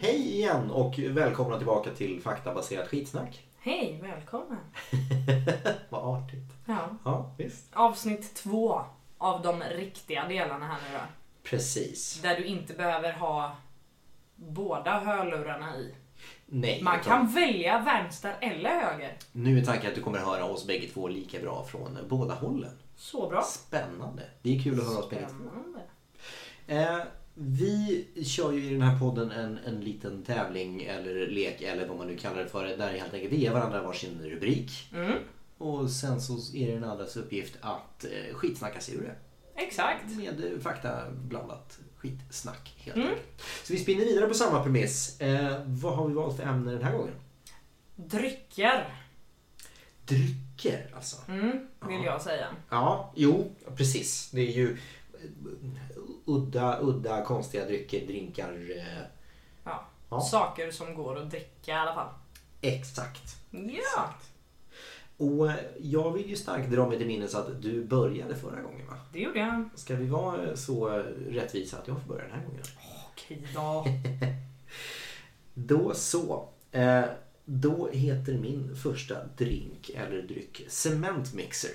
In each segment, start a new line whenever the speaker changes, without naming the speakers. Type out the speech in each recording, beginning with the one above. igen och välkomna tillbaka till faktabaserat skitsnack.
Hej, välkommen.
Vad artigt.
Ja.
Ja, visst.
Avsnitt två av de riktiga delarna här nu då.
Precis.
Där du inte behöver ha båda hörlurarna i.
Nej,
Man
utan
kan välja vänster eller höger.
nu är tanken att du kommer höra oss bägge två lika bra från båda hållen.
Så bra.
Spännande. Det är kul att höra oss bägge två.
Spännande.
Eh, vi kör ju i den här podden en, en liten tävling eller lek eller vad man nu kallar det för. Där helt enkelt vi ger varandra varsin rubrik.
Mm,
Och sen så är det den andras uppgift att eh, skitsnacka sig ur det.
exakt. Mm.
Med eh, fakta blandat skitsnack helt enkelt. Så vi spinner vidare på samma premiss. Eh, vad har vi valt för ämne den här gången?
Drycker,
Drycker alltså.
mm, vill
Ja.
jag säga.
Ja, jo, precis. Det är ju eh, udda, udda, konstiga drycker, drinkar. Eh,
Ja.
Ja.
Saker som går att dricka i alla fall.
exakt.
Ja,
Och eh, jag vill ju starkt dra mig till minnes att du började förra gången va?
det gjorde jag.
Ska vi vara eh, så rättvisa att jag får börja den här gången?
Okej då.
Då så. Eh, då heter min första drink eller dryck cementmixer.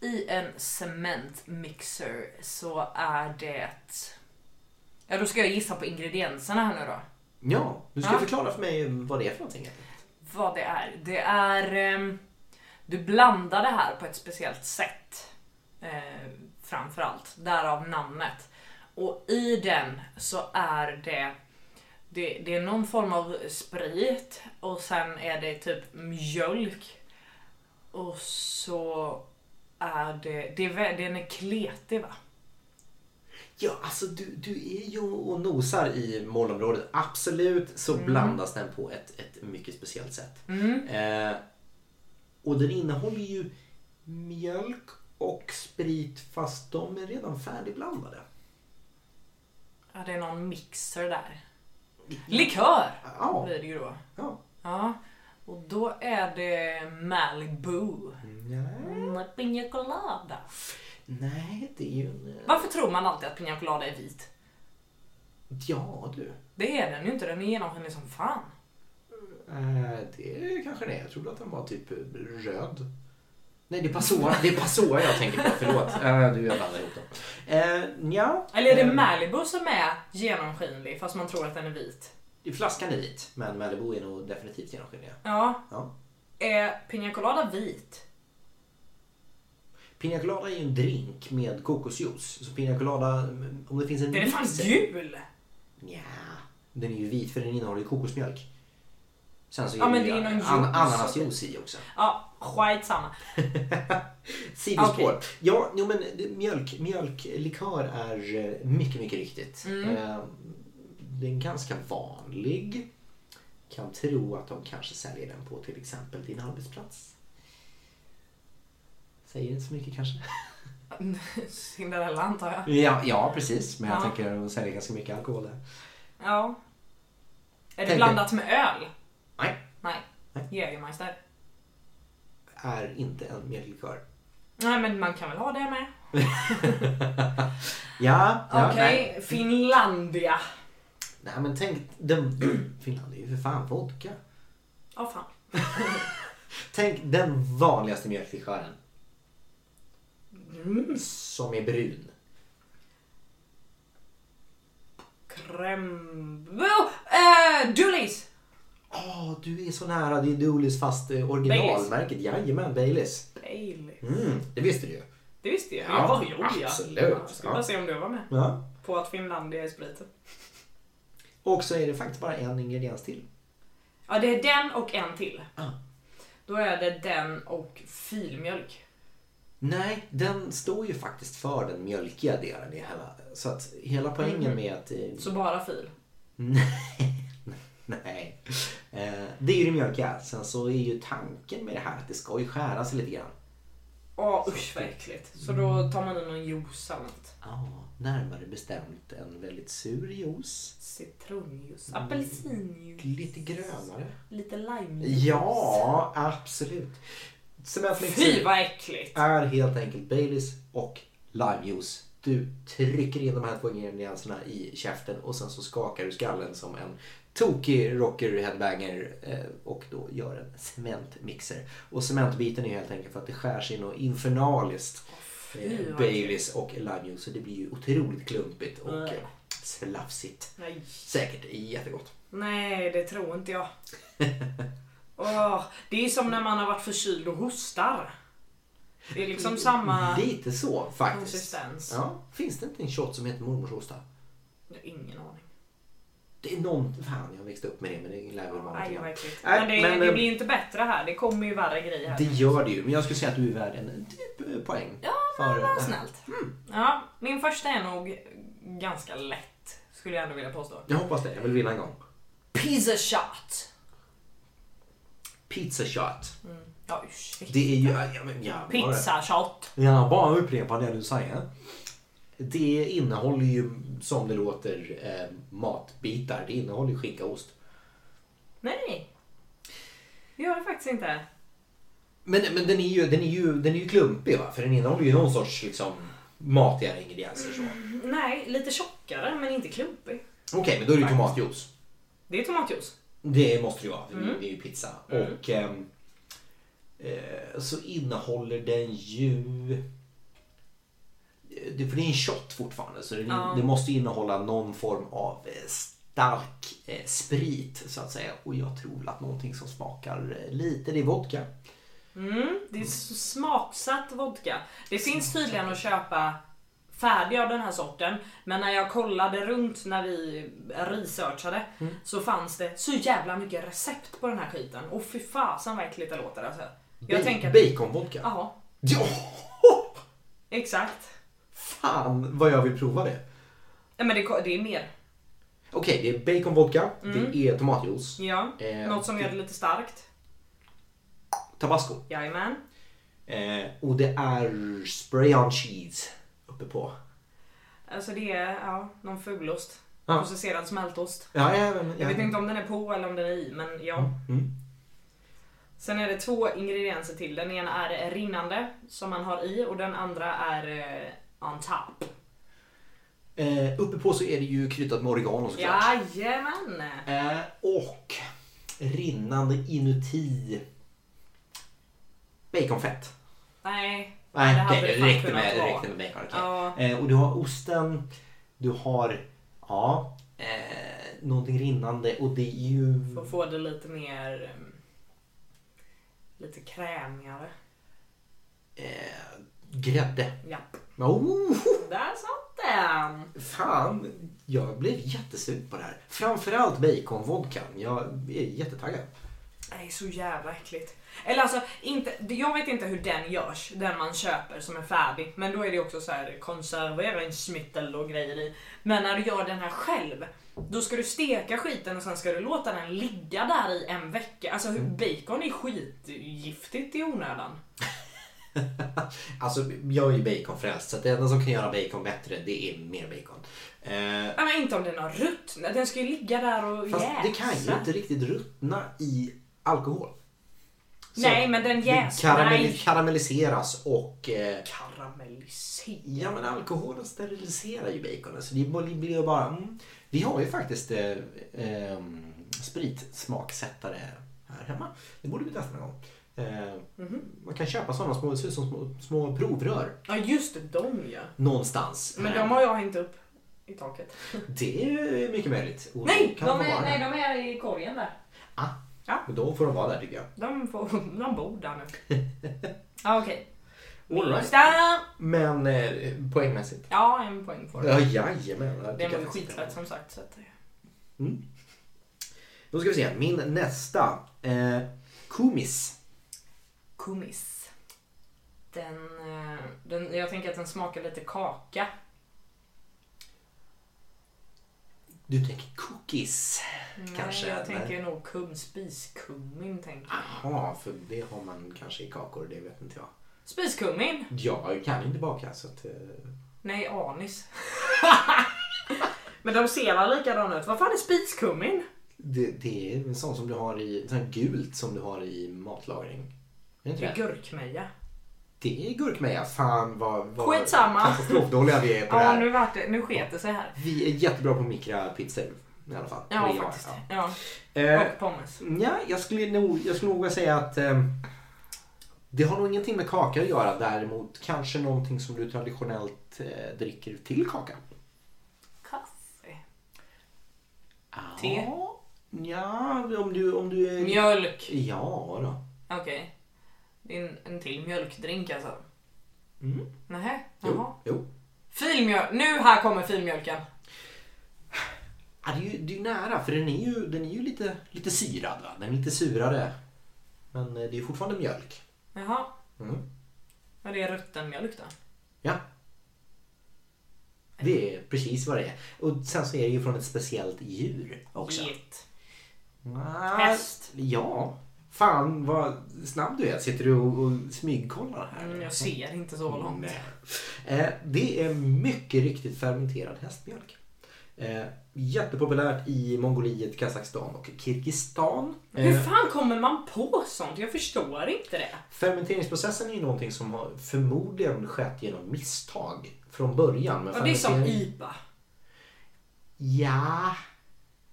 I en cementmixer så är det... Ja, då ska jag gissa på ingredienserna här nu då.
Ja, du ska
Ja.
förklara för mig vad det är för någonting.
Vad det är. Det är... ehm, Du blandar det här på ett speciellt sätt. Eh, framförallt. Därav namnet. Och i den så är det... Det, det är någon form av sprit och sen är det typ mjölk. Och så är det... det är, vä- den är kletig va?
Ja, alltså du, du är ju och nosar i målområdet. Absolut så
Mm.
blandas den på ett, ett mycket speciellt sätt. Eh, och den innehåller ju mjölk och sprit fast de är redan färdigblandade.
Ja, det är någon mixer där. Likör
Ja,
blir det ju då.
ja.
Ja. Och då är det Malibu.
Nej.
Mm, Pina colada.
Nej, det är ju en...
Varför tror man alltid att pina colada är vit?
Ja, du.
Det är den ju inte, den är genomskinlig som fan.
Eh, det kanske det är. Jag trodde att den var typ röd. Nej, det är Passoa, det är Passoa jag tänker på. Förlåt. Eh, du, jag blandar ihop dem. Eh, nja.
Eller är det
Eh,
Malibu som är genomskinlig fast man tror att den är vit?
Flaskan är vit, men Malibu är nog definitivt genomskinlig.
Ja.
Ja.
Är pina colada vit?
Pina colada är ju en drink med kokosjuice. Så pina colada, om det finns en
Den är fan
mixer-
gul!
Nja, den är ju vit för den innehåller ju kokosmjölk. Sen så
Ja, men
ju
det är någon
an-
juice.
ananasjuice i också.
Ja, skitsamma.
Sidospår.
Okej.
Ja, jo, men det- mjölk, mjölklikör är eh, mycket, mycket riktigt. Eh, Den är ganska vanlig. Kan tro att de kanske säljer den på till exempel din arbetsplats. Säger inte så mycket kanske.
Cinderella antar jag.
Ja, ja precis. Men jag
Ja.
tänker att de säljer ganska mycket alkohol där.
Ja. Är det
dig-
blandat med öl?
Nej,
Nej.
Nej.
Jägermeister.
är inte en mjölklikör.
Nej men man kan väl ha det med.
Ja, ja
Okej,
nej.
Finlandia.
nej men tänk, den, Finland är ju för fan vodka.
Ja fan.
Tänk den vanligaste mjölklikören.
Mm.
Som är brun.
Crème... Oh, eh, Dooleys!
Åh, Ah, du är så nära. Det är Dooleys fast eh, originalmärket. Jajamän, Baileys.
Bailey.
Mm, det visste du ju.
Det visste jag.
Ja,
jag var jo, ja.
absolut.
Ja, Skulle bara se om du var med.
Ja.
På att Finlandia är spriten.
Och så är det faktiskt bara en ingrediens till.
Ja, det är den och en till.
Ah.
Då är det den och filmjölk.
Nej, den står ju faktiskt för den mjölkiga delen i hela. Så att hela poängen med att... eh,
Så bara fil.
Nej. Eh, Det är ju det mjölkiga. Sen så är ju tanken med det här att det ska ju skära sig lite grann.
Ja, usch vad äckligt. Så
Mm.
då tar man i någon juice eller något.
Ja, närmare bestämt en väldigt sur juice.
Citronjuice, apelsinjuice,
Mm. Lite grönare.
lite limejuice.
Ja, absolut. Cementmixer.
Fy vad äckligt!
är helt enkelt Baileys och limejuice du trycker in de här två ingredienserna i käften och sen så skakar du skallen som en tokig rocker headbanger eh, och då gör en cementmixer. Och cementbiten är helt enkelt för att det skärs in och infernaliskt
fy,
eh,
vad
Baileys och limejuice så det blir ju otroligt klumpigt och
Äh.
eh, slafsigt.
Nej.
Säkert jättegott.
Nej, det tror inte jag. Åh, det är som när man har varit förkyld och hostar. Det är liksom samma
Lite så faktiskt.
konsistens.
Ja, finns det inte en shot som heter mormors osta?
Jag har Ingen aning.
Det är någon... Fan, jag växte upp med det men det lär väl vara
Nej,
någonting
vad
annat.
äckligt.
Nej,
Men det,
men,
det
eh,
blir inte bättre här. Det kommer ju värre grejer här.
Det gör det ju, men jag skulle säga att du är värd en typ eh, poäng.
Ja,
för
Vad
det här.
snällt. Mm. Ja, min första är nog ganska lätt, skulle jag ändå vilja påstå.
Jag hoppas det, jag vill vinna en gång.
Pizza shot!
Pizza shot.
Ja, ursäkta.
Det är ju... Ja, men, ja, bara-
Mm. Pizza shot!
Ja, bara upprepa det du säger. Det innehåller ju, som det låter, eh, matbitar. Det innehåller ju skinka och ost.
Nej! Det gör det faktiskt inte.
Men, men den, är ju, den, är ju, den är ju klumpig va? För den innehåller ju någon sorts liksom, matigare ingredienser. så.
Nej, lite tjockare men inte klumpig.
Okej, men då är det ju tomatjuice.
Det är tomatjuice.
Det måste det ju vara, för
Mm.
det är ju- det är ju pizza. Och ehm, eh, så innehåller den ju... eh, Det, för det är en shot fortfarande, så det,
Ja.
det måste innehålla någon form av eh, stark eh, sprit så att säga. Och jag tror väl att någonting som smakar eh, lite, det är vodka.
Mm, det är så smaksatt vodka. Det finns tydligen att köpa färdig av den här sorten. Men när jag kollade runt när vi researchade så fanns det så jävla mycket recept på den här skiten. Och fy fasen vad äckligt det låter alltså. Jag
Ba-
tänker att...
Baconvodka.
Ja,
Ja,
exakt.
fan vad jag vill prova det.
Nej men det, ko- det är mer.
Okej, det är baconvodka,
Mm.
det är tomatjuice,
Ja,
Eh,
något som gör det lite starkt.
tabasco.
Jajamän.
Eh, och det är spray on cheese uppe på.
Alltså det är ja, någon fulost.
Ja.
Processerad smältost.
Ja, ja, men,
Jag
ja.
vet inte om den är på eller om den är i, men ja.
Mm.
Sen är det två ingredienser till. Den ena är rinnande som man har i och den andra är eh, on top.
Eh, uppe på så är det ju kryddat med oregano såklart.
Jajamän!
Eh, och rinnande inuti baconfett.
Nej.
Nej,
det
okej,
hade
det,
det
räckte
fan kunnat
med, det
vara.
räckte med bacon. okej.
Ja.
Eh, och du har osten, du har ja, eh, någonting rinnande och det är ju...
För att få det lite mer... mm, Lite krämigare.
Eh, grädde.
Ja.
Oh,
Där satt den!
fan, jag blev jättesugen på det här. Framförallt baconvodkan. Jag är jättetaggad.
Nej, så jävla äckligt. Eller alltså, inte, jag vet inte hur den görs, den man köper som är färdig. Men då är det också så här konserveringsmittel och grejer i. Men när du gör den här själv, då ska du steka skiten och sen ska du låta den ligga där i en vecka. Alltså hur-
Mm.
bacon är skitgiftigt i onödan.
Alltså jag är ju baconfrälst så att det enda som kan göra bacon bättre det är mer bacon. Eh,
Nej, men inte om den har ruttnat, den ska ju ligga där och
fast
jäsa.
det kan ju inte riktigt ruttna i alkohol. Så
Nej, men den
det
jäser.
karamell-
Nej.
karamelliseras och eh,
Karamellisera.
ja men alkoholen steriliserar ju baconen så det blir- blir ju bara mm. Vi har ju faktiskt eh, ehm, spritsmaksättare här hemma. Det borde vi testa någon gång. Eh,
Mhm.
Man kan köpa sådana små, det ser ut som små, små provrör
Ja just det, de ja.
någonstans.
Men
Eh,
de har jag hängt upp i taket.
Det är mycket möjligt. Och
Nej,
då
de
kan
är,
vara
nej,
där.
de är i korgen där.
Ah,
Ja.
och Då får de vara där tycker jag.
De, får, de bor där nu. Ja, okej.
All right.
Nästa!
Men eh, poängmässigt.
Ja, en poäng får du.
Ja, jajamän. jag tycker
Det var ju
jag faktiskt
skitlätt
det.
som sagt. Så att, eh,
Då ska vi se. Min nästa. Eh, kumis.
kumis. Den, eh, den, jag tänker att den smakar lite kaka.
Du tänker cookies kanske?
Nej, jag
eller?
tänker nog kum, spiskummin. Tänker. jag.
Jaha, för det har man kanske i kakor. Det vet inte jag.
Spiskummin?
Jag kan inte baka så att... Eh,
Nej, anis. Men de ser väl likadana ut? Vad fan är spiskummin?
det, det är en sån som du har i... En sån här gult som du har i matlagring. Är det
Det
inte det?
är gurkmeja.
det är gurkmeja. Fan vad, vad
Skitsamma.
katastrofdåliga vi är på det
Ja,
här.
nu, vart det, nu sket det sig här.
Vi är jättebra på mikropizzor i alla fall.
Ja,
Eller jag,
faktiskt.
ja.
Ja.
Eh,
Och pommes.
Nja, jag skulle nog, jag skulle nog vilja säga att eh, det har nog ingenting med kaka att göra. Däremot kanske någonting som du traditionellt eh, dricker till kaka.
Kaffe. Te?
Ja, nja, om du, om du är...
Mjölk.
Ja då.
Okej. Det är en, en till mjölkdrink alltså.
Mm.
Nähä, jaha.
Jo, jo.
Filmjölk. Nu här kommer filmjölken.
Ja, det, är ju, det är ju nära för den är ju, den är ju lite, lite syrad. Va? Den är lite surare. Men eh, det är ju fortfarande mjölk.
Jaha.
Mm.
Vad är det ruttenmjölk då?
Ja. Det är precis vad det är. Och sen så är det ju från ett speciellt djur också.
Get.
Ah,
Häst.
Ja. Fan vad snabb du är. Sitter du och, och smygkollar här?
Mm, jag ser inte så långt.
Nej. Eh, det är mycket riktigt fermenterad hästmjölk. Eh, jättepopulärt i Mongoliet, Kazakstan och Kirgizistan.
Hur
Eh,
fan kommer man på sånt? Jag förstår inte det.
fermenteringsprocessen är ju någonting som har förmodligen skett genom misstag från början. Men
Ja, det är som
fermentering-
IPA.
Ja,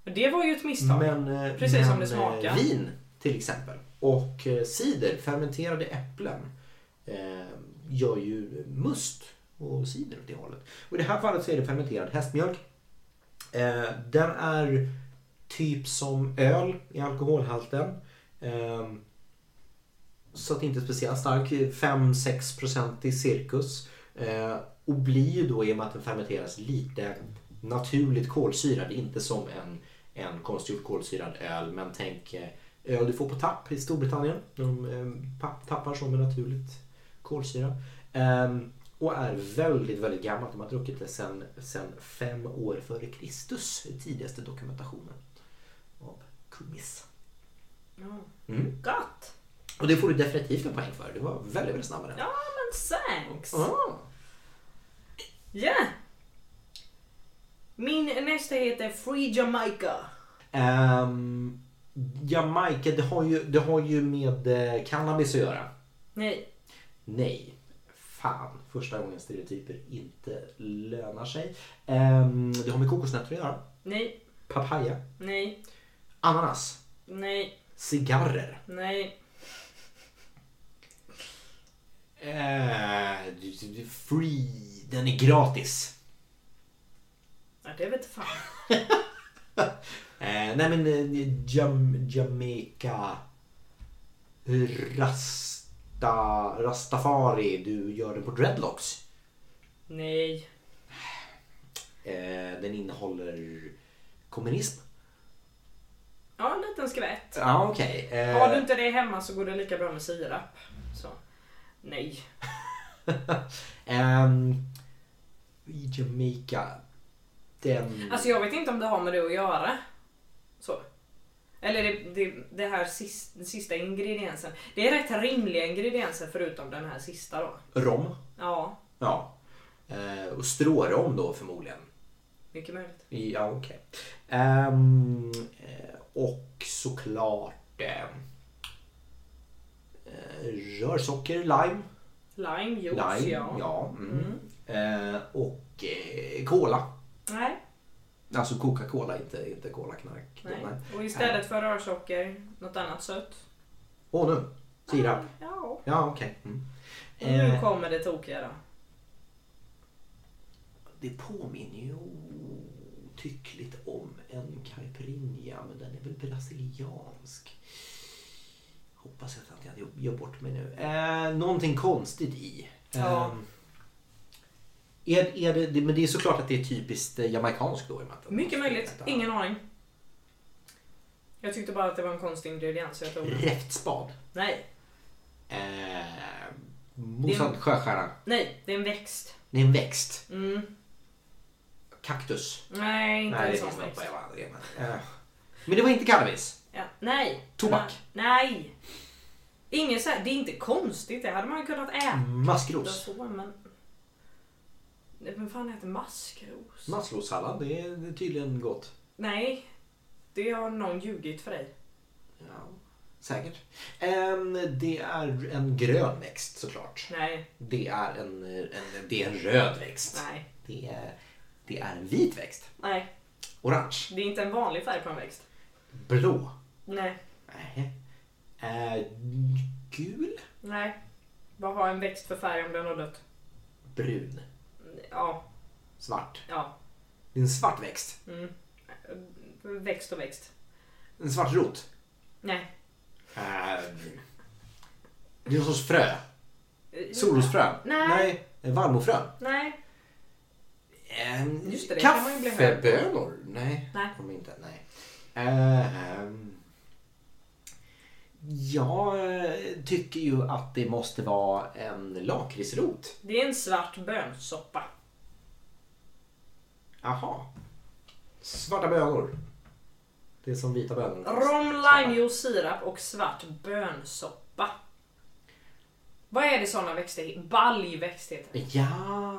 Och Det var ju ett misstag.
Men, eh,
Precis
men,
som det smakar.
eh, Vin till exempel och eh, cider, fermenterade äpplen eh, gör ju must och cider åt det hållet. Och i det här fallet så är det fermenterad hästmjölk. Eh, den är typ som öl i alkoholhalten. Eh, så att inte speciellt stark. 5-6% i cirkus. Eh, och blir ju då i och med att den fermenteras lite naturligt kolsyrad. Inte som en, en konstgjord kolsyrad öl. Men tänk eh, öl du får på tapp i Storbritannien. De eh, papp- tappar som är naturligt kolsyra. Eh, och är väldigt, väldigt gammalt. De har druckit det sedan sen fem år före Kristus. i Tidigaste dokumentationen av kumis.
Ja.
Mm.
Gott!
Och det får du definitivt en poäng för. Du var väldigt, väldigt snabb med den.
Ja men thanks!
Ah.
Yeah! Min nästa heter Free Jamaica.
Ehm, Jamaica, det har, ju, det har ju med eh, cannabis att göra.
Nej.
Nej. Fan, första gången stereotyper inte lönar sig. Ehm, det har med kokosnötter att göra.
Nej.
Papaya.
Nej.
Ananas.
Nej.
Cigarrer.
Nej.
Eh, du- du- du- free. Den är gratis.
Ja, det vet fan.
Eh, nej men eh, Jam, Jamaica Rasta, Rastafari, du gör den på dreadlocks.
Nej.
Eh, den innehåller kommunism.
Ja, en liten skvätt.
Ja ah, okej. Eh,
Har du inte det hemma så går det lika bra med sirap. Så. Nej.
ehm, i Jamaica. Den...
Alltså jag vet inte om det har med det att göra. Så. Eller det, det, det här sista, den sista ingrediensen. Det är rätt rimliga ingredienser förutom den här sista då.
Rom.
Ja,
Ja. Eh, och strårom då förmodligen.
mycket möjligt.
Ja okej. Ehm, eh, och såklart eh, eh, rörsocker, lime.
Lime, juice,
Lime,
ja.
ja. Mm. Eh, och eh, cola.
Nej,
Alltså Coca-Cola, inte, inte Cola-knark.
nej. Och istället för rörsocker, något annat sött.
Åh nu, sirap.
Ja.
Ja okej.
Och
Mm.
nu
Eh,
kommer det tokiga då.
det påminner ju tyckligt om en caipirinha men den är väl brasiliansk. Hoppas att jag inte gör bort mig nu. Eh, någonting konstigt i.
Ja.
Eh, är, är det, det, men det är såklart att det är typiskt eh, jamaikanskt då. i och med att-
Mycket möjligt,
Detta.
ingen aning. Jag tyckte bara att det var en konstig ingrediens så jag tog
Mm.
den.
Räftspad.
Nej,
Eh, Mosad sjöstjärna.
nej, det är en växt.
Det är en växt.
Mm.
Kaktus.
Nej, inte
Nej,
en
det
sån
finns något
växt.
på Eva. Eh, Men det var inte cannabis.
Ja, nej.
Tobak.
Nej. Ingen så här, det är inte konstigt, det hade man ju kunnat äta
Maskros.
så men... Nej, Vem fan äter maskros?
Maskrossallad, det är det är tydligen gott.
nej, det har någon ljugit för dig.
Ja. Säkert. Ehm, det är en grön växt såklart.
Nej,
Det är en, en, det är en röd växt.
nej,
Det är, det är en vit växt.
nej.
Orange.
Det är inte en vanlig färg på en växt.
Blå.
Nej,
Nej. Eh, gul.
nej. Vad har en växt för färg om den har dött?
Brun.
Ja,
Svart.
ja.
Det är en svart växt.
Mm. Växt och växt.
En svart rot.
Nej.
Eh, det är någon sorts frö. Solrosfrön.
Nej.
Nej. eh, Vallmofrön.
Nej.
Ehm,
Just det, det kan man ju bli hög på.
Kaffebönor? Nej,
Nej.
de är inte. Nej. Ehm, jag eh, tycker ju att det måste vara en lakritsrot.
Det är en svart bönsoppa.
Jaha. Svarta bönor. Det är som vita bönor.
Rom,
Samma.
lime, juice, sirap och svart bönsoppa. Vad är det såna växter heter? Baljväxt heter det.
Ja,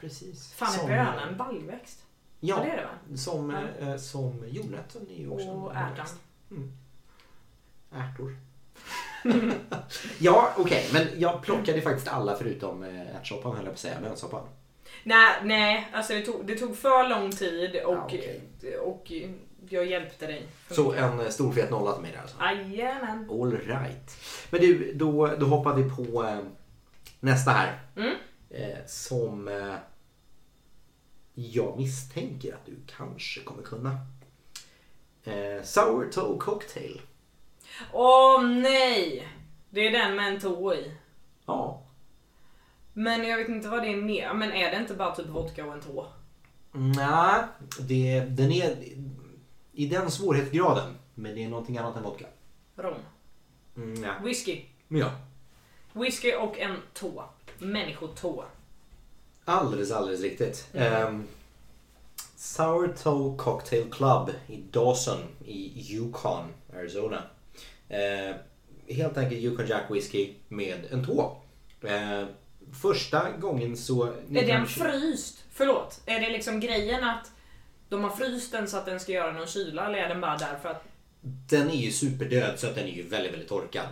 precis.
Fan, är bönan en baljväxt? Ja.
Ja,
Det är det va?
som,
Ja.
eh, som jordnöten är ju också
Och
en
ärtan.
växt. Ärtor. ja, okej. men jag plockade faktiskt alla förutom eh, ärtsoppan höll jag på att säga. Lönsoppan.
Nej, nej. Alltså det tog, det tog för lång tid och,
Ja, okej.
och jag hjälpte dig.
Så en eh, stor fet nolla till mig där alltså.
Jajamän.
All right. Men du, då, då hoppar vi på eh, nästa här.
Mm.
Eh, som eh, jag misstänker att du kanske kommer kunna. Eh, sour toe cocktail.
Åh nej! Det är den med en tå i.
Ja.
Men jag vet inte vad det är mer. Men är det inte bara typ vodka och en tå?
Nej, det, den är i den svårighetsgraden. Men det är någonting annat än vodka.
Rom.
Mm, ja.
Whisky.
Men ja.
Whisky och en tå. Människotå.
Alldeles, alldeles riktigt. Ehm, Sour Toe Cocktail Club i Dawson i Yukon, Arizona. Eh, helt enkelt Yukon Jack Whiskey med en tå. Eh, första gången så...
Är den fryst? Förlåt. Är det liksom grejen att de har fryst den så att den ska göra någon kyla eller är den bara där för att...
Den är ju superdöd så att den är ju väldigt, väldigt torkad.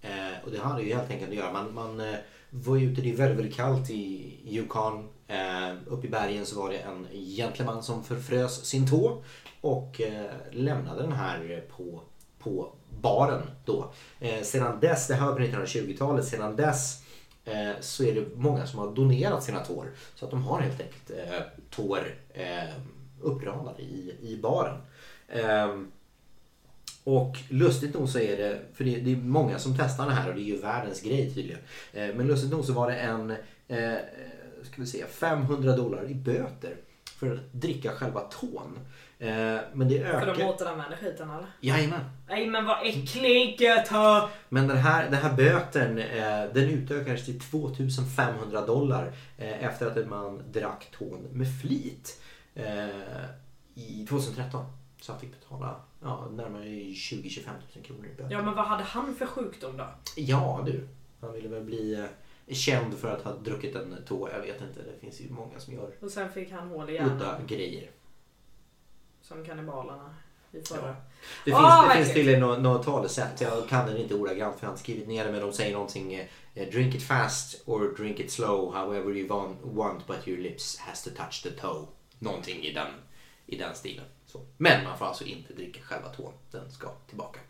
Eh, och det hade ju helt enkelt att göra. Man, man eh, var ju ute, det är väldigt, väldigt kallt i Yukon. Eh, uppe i bergen så var det en gentleman som förfrös sin tå och eh, lämnade den här på, på baren då. Eh, sedan dess, det här var på 1920-talet, sedan dess eh, så är det många som har donerat sina tår. Så att de har helt enkelt eh, tår eh, uppradade i, i baren. Ehm, och lustigt nog så är det, för det, det är många som testar det här och det är ju världens grej tydligen. Eh, Men lustigt nog så var det en, eh, eh, ska vi se, 500 dollar i böter för att dricka själva tån. Eh, Men det
För de
ökar...
återanvänder skiten eller?
Jajamän.
Nej men vad äckligt! hö.
Men den här, den här böten eh, den utökades till 2500 dollar eh, efter att en man drack tån med flit eh, i 2013. Så han fick betala ja, närmare 20-25 000 kronor i böter.
Ja men vad hade han för sjukdom då?
Ja du, han ville väl bli eh, känd för att ha druckit en tå. Jag vet inte, det finns ju många som gör
Och sen fick han hål i
udda
hjärnan.
grejer.
Som kannibalerna i förra.
Det
Ah,
finns, det
verkligen.
finns tydligen nå- något talesätt. Jag kan den inte ordagrant för jag har inte skrivit ner det. Men de säger någonting. eh, Drink it fast or drink it slow. However you want, want but your lips has to touch the toe. Någonting i den, i den stilen. Så. Men man får alltså inte dricka själva tån. Den ska tillbaka.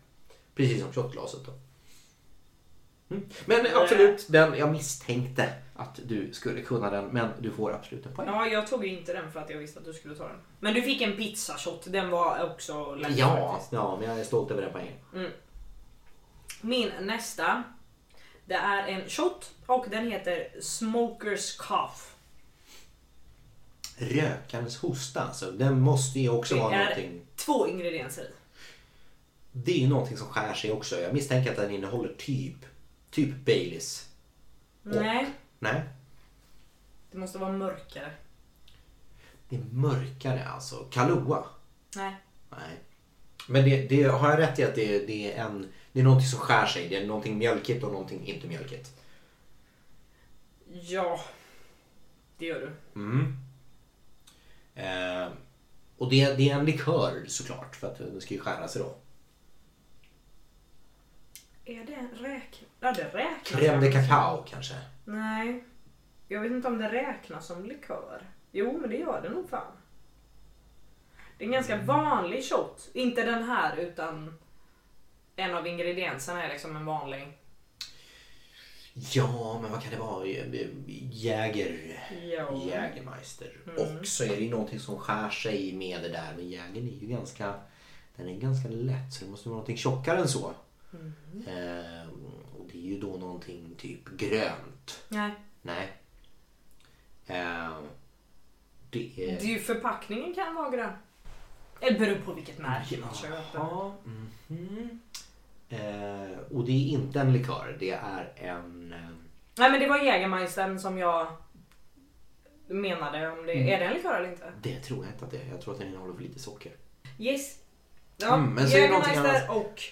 Precis som shotglaset då. Mm. Men absolut, den, jag misstänkte att du skulle kunna den. Men du får absolut en poäng.
Ja, jag tog ju inte den för att jag visste att du skulle ta den. Men du fick en pizzashot. Den var också läcker
Ja,
faktiskt.
ja, men jag är stolt över den poängen.
Min nästa. Det är en shot och den heter Smokers Cough.
Rökarens hosta alltså. Den måste ju också
Det
vara
är-
någonting.
Två ingredienser i.
Det är ju någonting som skär sig också. Jag misstänker att den innehåller typ, typ Baileys.
Nej,
Nej,
det måste vara mörkare.
det är mörkare alltså. Kahlua.
Nej.
Nej. Men det, det, har jag rätt i att det, det är en... Det är någonting som skär sig. Det är någonting mjölkigt och någonting inte mjölkigt.
Ja, det gör du.
Mm. Eh, och det, det är en likör såklart för att den ska ju skära sig då.
Är det en räk... Ja, det räknas.
Crème de cacao kanske.
Nej. Jag vet inte om det räknas som likör. Jo, men det gör det nog fan. Det är en ganska
Mm.
vanlig shot. Inte den här utan en av ingredienserna är liksom en vanlig.
Ja, men vad kan det vara? Jäger.
Ja.
Jägermeister. Och så är det ju någonting som skär sig med det där. Men jägern är ju ganska, den är ganska lätt så det måste vara någonting tjockare än så. Eh, och det är ju då någonting typ grönt.
Nej.
Nej. Eh, det
Det
är...
är ju förpackningen kan vara grön. Det beror på vilket märke man köper.
Jaha. mhm. Eh, och det är inte en likör. Det är en... eh,
Nej men det var Jägermeistern som jag menade om det.
Mm.
Är den likör eller inte?
Det tror jag inte att det är. Jag tror att den innehåller för lite socker.
Yes. Ja,
Mm, men säg någonting
Jägermeister och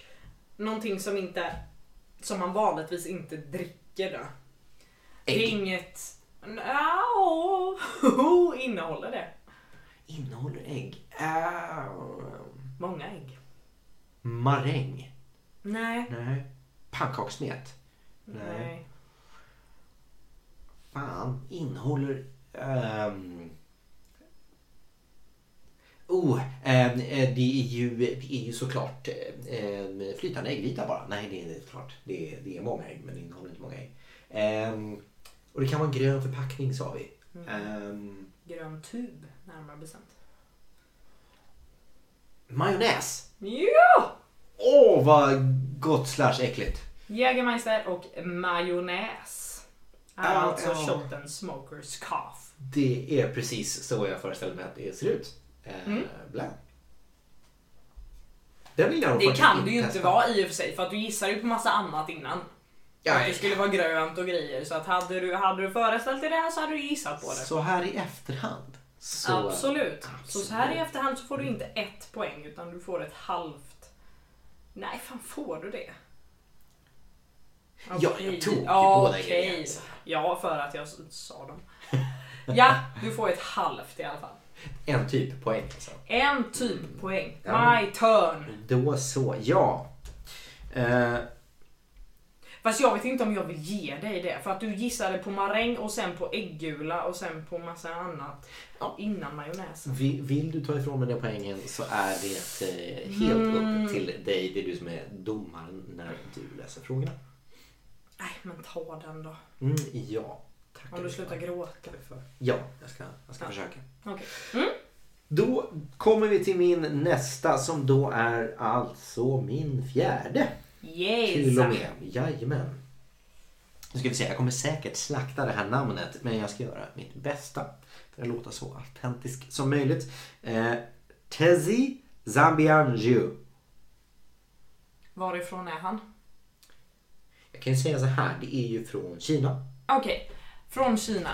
någonting som inte som man vanligtvis inte dricker då. Det är
Ägg.
inget... No. Innehåller det?
Innehåller ägg. Äh,
Många ägg.
Maräng.
Nej.
Nej. Pannkakssmet.
Nej.
Fan, innehåller... ehm, Oh, ehm, eh, det är ju, det är ju såklart um, flytande äggvita bara. Nej, det är det klart. Det är, det är många ägg, men det innehåller inte många ägg. Ehm, och det kan vara en grön förpackning sa vi. Ehm,
Mm. Grön tub närmare bestämt.
majonnäs!
Ja!
Åh, vad gott slash äckligt.
Jägermeister och majonnäs. Är
Ja,
alltså
ja.
shotten smokers cough.
Det är precis så jag föreställer mig att det ser ut. Eh,
Mm.
Blä. Den vill jag nog
Det
faktiskt
kan det ju inte
testa.
vara i och för sig för att du gissar ju på massa annat innan.
Ja,
Att det skulle vara grönt och grejer så att hade du, hade du föreställt dig det här så hade du gissat på det.
Så här i efterhand. Så,
Absolut. Så, så här i
Absolut.
efterhand så får du inte ett poäng utan du får ett halvt. Nej, fan får du det?
Ja, jag
Okej.
tog ju
Ja,
båda alltså.
okej.
ingredienserna.
Ja, för att jag s- sa dem. Ja, du får ett halvt i alla fall.
En typ poäng alltså.
En typ poäng.
Ja.
My turn.
Då så, ja. Eh,
Fast jag vet inte om jag vill ge dig det. För att du gissade på maräng och sen på äggula och sen på massa annat.
Ja.
Innan majonnäsen.
vill, vill du ta ifrån mig den poängen så är det eh, helt
Mm.
upp till dig. Det är du som är domaren när du läser frågorna.
Nej, men ta den då.
Mm, ja, tackar
Om du
dig
slutar gråta.
för. Ja, jag ska, jag ska
Ja.
försöka.
Okej.
Då kommer vi till min nästa som då är alltså min fjärde. Till och
Yes.
med. Jajamän. Nu ska vi se, jag kommer säkert slakta det här namnet men jag ska göra mitt bästa för att låta så autentisk som möjligt. Eh, Tezi Zambianju.
Varifrån är han?
Jag kan ju säga så här, det är ju från Kina.
Okej, från Kina.